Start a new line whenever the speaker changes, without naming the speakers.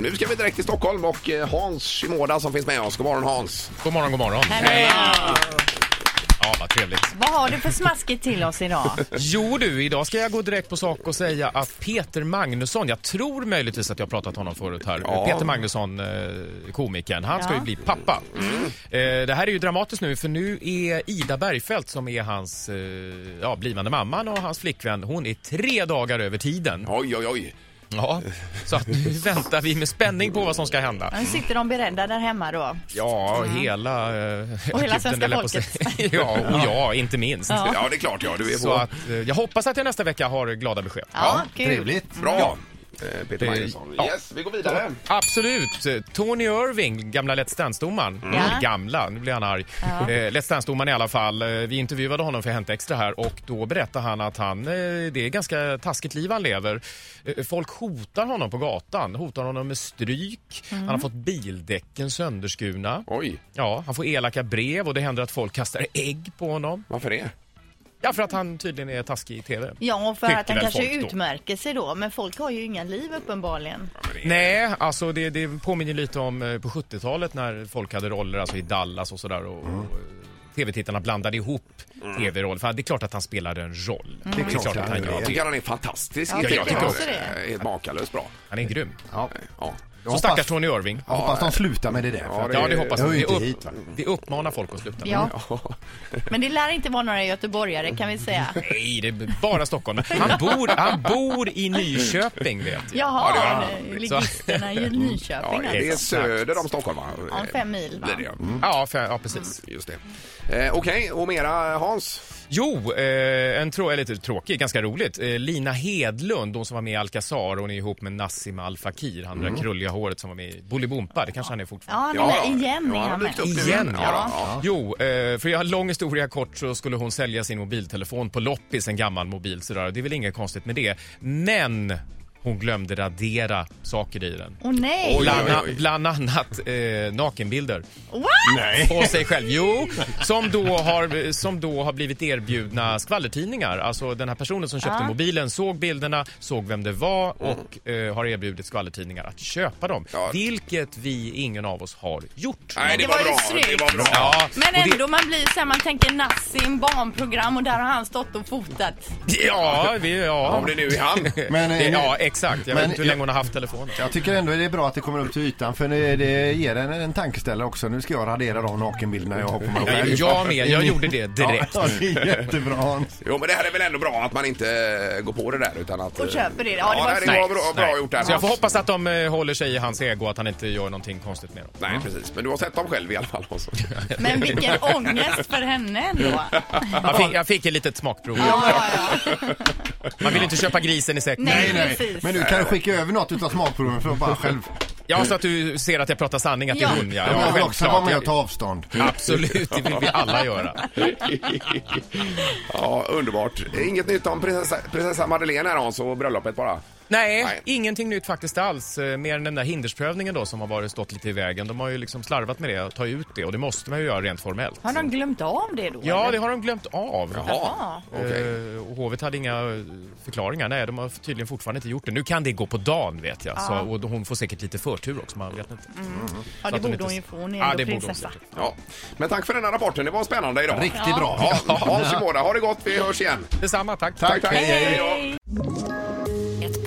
Nu ska vi direkt till Stockholm och eh, Hans Shimoda som finns med oss. God morgon Hans!
God morgon, god morgon. Ja, vad trevligt.
Vad har du för smaskigt till oss idag?
Jo du, idag ska jag gå direkt på sak och säga att Peter Magnusson, jag tror möjligtvis att jag har pratat om honom förut här.
Ja.
Peter Magnusson, eh, komikern, han ska
Ja.
ju bli pappa. Eh, Det här är ju dramatiskt nu för nu är Ida Bergfeldt som är hans eh, ja, blivande mamman och hans flickvän, hon är tre dagar över tiden.
Oj, oj, oj.
Ja. Så att nu väntar vi med spänning på vad som ska hända.
Nu sitter de beredda där hemma då.
Ja, och hela... eh, akuten,
hela svenska
höll jag på att
folket.
säga. ja, och jag inte minst.
Ja.
Ja, det är klart ja. Du är
Så
på...
att, eh, jag hoppas att jag nästa vecka har glada besked.
Ja, kul.
Trevligt.
Bra! Eh, Peter
Det-
Magnusson.
ja.
Yes, vi går vidare.
Absolut. Tony Irving, gamla Let's Dance-domaren.
Mm. Ja.
Gamla, nu blir han arg. Eh, Let's Dance-domaren i alla fall. Eh, Vi intervjuade honom för Hänt Extra här och då berättade han att han, eh, det är ganska taskigt liv han lever. Eh, Folk hotar honom på gatan, hotar honom med stryk.
Mm.
Han har fått bildäcken sönderskurna.
Oj,
Ja, han får elaka brev och det händer att folk kastar ägg på honom.
varför det?
Ja, för att han tydligen är taskig i TV.
Ja, för
Tycker
att han
väl
kanske
folk då.
utmärker sig då. Men folk har ju inga liv uppenbarligen.
Nej, alltså det, det påminner lite om eh, på 70-talet när folk hade roller alltså i Dallas och sådär. Och, och, eh, TV-tittarna blandade ihop TV-roll. För det är klart att han spelade en roll. Mm. Det är klart att han gör
Jag
det.
tycker han är fantastisk.
Ja,
i
jag
TV.
tycker
också det.
Eh, Helt makalöst bra.
Han är grym.
Ja.
Ja.
Så stackars Tony Irving.
Jag hoppas de slutar med det där.
Ja,
för att
det-
Ja, det hoppas
det hör
vi.
ju
Det,
inte
upp,
hit, va?
det uppmanar folk att sluta.
Ja.
Ja.
Men det lär inte vara några göteborgare kan vi säga.
Nej, det är bara Stockholm. Han bor, han bor i Nyköping, vet jag.
Jaha,
det var-
ligisterna i
Ja,
Nyköping
det är
alltså.
söder om Stockholm va?
Om fem mil, va?
Blir det, ja. Mm.
Ja, för, ja precis.
Just det. Eh, Okej, och mera Hans?
Jo, eh, en trå- eller lite tråkig, ganska roligt. Eh, Lina Hedlund, hon som var med i Alcazar, hon är ihop med Nassim Al Fakir, han
Mm.
det där krulliga håret som var med i Bolibompa, det kanske han är
Ja,
fortfarande.
han är med igen
ja,
är han
har dykt
med.
upp nu.
Igen,
ja.
ja.
ja.
Jo, eh, för jag har en lång historia kort så skulle hon sälja sin mobiltelefon på loppis, en gammal mobil sådär. Det är väl inget konstigt med det. Men hon glömde radera saker i den.
Åh nej!
Oj.
Bland, bland annat eh, nakenbilder.
What?
på sig själv. Jo, som då har, som då har blivit erbjudna skvallertidningar. Alltså den här personen som köpte mobilen såg bilderna, såg vem det var och eh, har erbjudit skvallertidningar att köpa dem.
Ja.
Vilket vi, ingen av oss, har gjort.
Nej, det,
det
var,
var ju
bra.
snyggt.
Det var bra.
Ja,
Men
och det-
ändå, man blir så här, man tänker Nassim, barnprogram och där har han stått och fotat.
Ja, vi, ja.
Om det nu är han.
Men,
Det,
eh,
ja, exakt. Jag
men
vet inte hur
jag-
länge hon har haft telefonen.
Jag tycker ändå det är bra att det kommer upp till ytan för det, det ger en en tankeställare också. Nu ska jag radera de nakenbilderna jag har på mig
Jag,
själv.
jag med, jag gjorde det direkt.
Ja, det är jättebra Hans.
Jo, men det här är väl ändå bra att man inte eh, går på det där utan att...
Och
eh,
köper det. Ja,
Ja,
det var
nej, det
snyggt.
var bra, bra gjort där.
Så jag får
Hans.
hoppas att de eh, håller sig i hans ego, att han inte gör någonting konstigt med dem.
Nej, precis. Men du har sett dem själv i alla fall. Också.
Men vilken ångest för henne ändå.
Jag fick, jag fick ett litet smakprov.
Ja, ja.
Man vill inte köpa grisen i säcken.
Nej.
Nej, nej.
Precis.
Men du kan du skicka över något utav smakproven för att bara själv.
Ja, så att du ser att jag pratar sanning, att det är
Ja.
hon, ja.
Jag
ja
vill också vara med och
Jag-
ta avstånd.
Absolut, det vill vi alla göra.
ja, underbart. Inget nytt om prinsessa, prinsessa Madeleine här Hans och bröllopet bara.
Nej,
Nej.
ingenting nytt faktiskt alls. eh, Mer än den där hindersprövningen då som har varit stått lite i vägen. De har ju liksom slarvat med det, att ta ut det och det måste man ju göra rent formellt.
Har de glömt av det då?
Ja,
eller?
det har de glömt av.
Jaha, okej.
Eh, Och hovet hade inga eh, förklaringar. Nej, de har tydligen fortfarande inte gjort det. Nu kan det gå på dagen vet jag. Så, och hon får säkert lite förtur också, man vet inte.
ja,
så
det
att de
borde
inte-
hon ju få. Hon är
Ja,
ändå
det borde hon
prinsessa.
säkert.
Ja. Men tack för den här rapporten. Det var spännande idag.
Riktigt bra.
Ja, Hans i båda. Ha det gott. Vi hörs igen.
Detsamma, tack.
Tack,
Tack,
hej,
hej.
hej.
Ett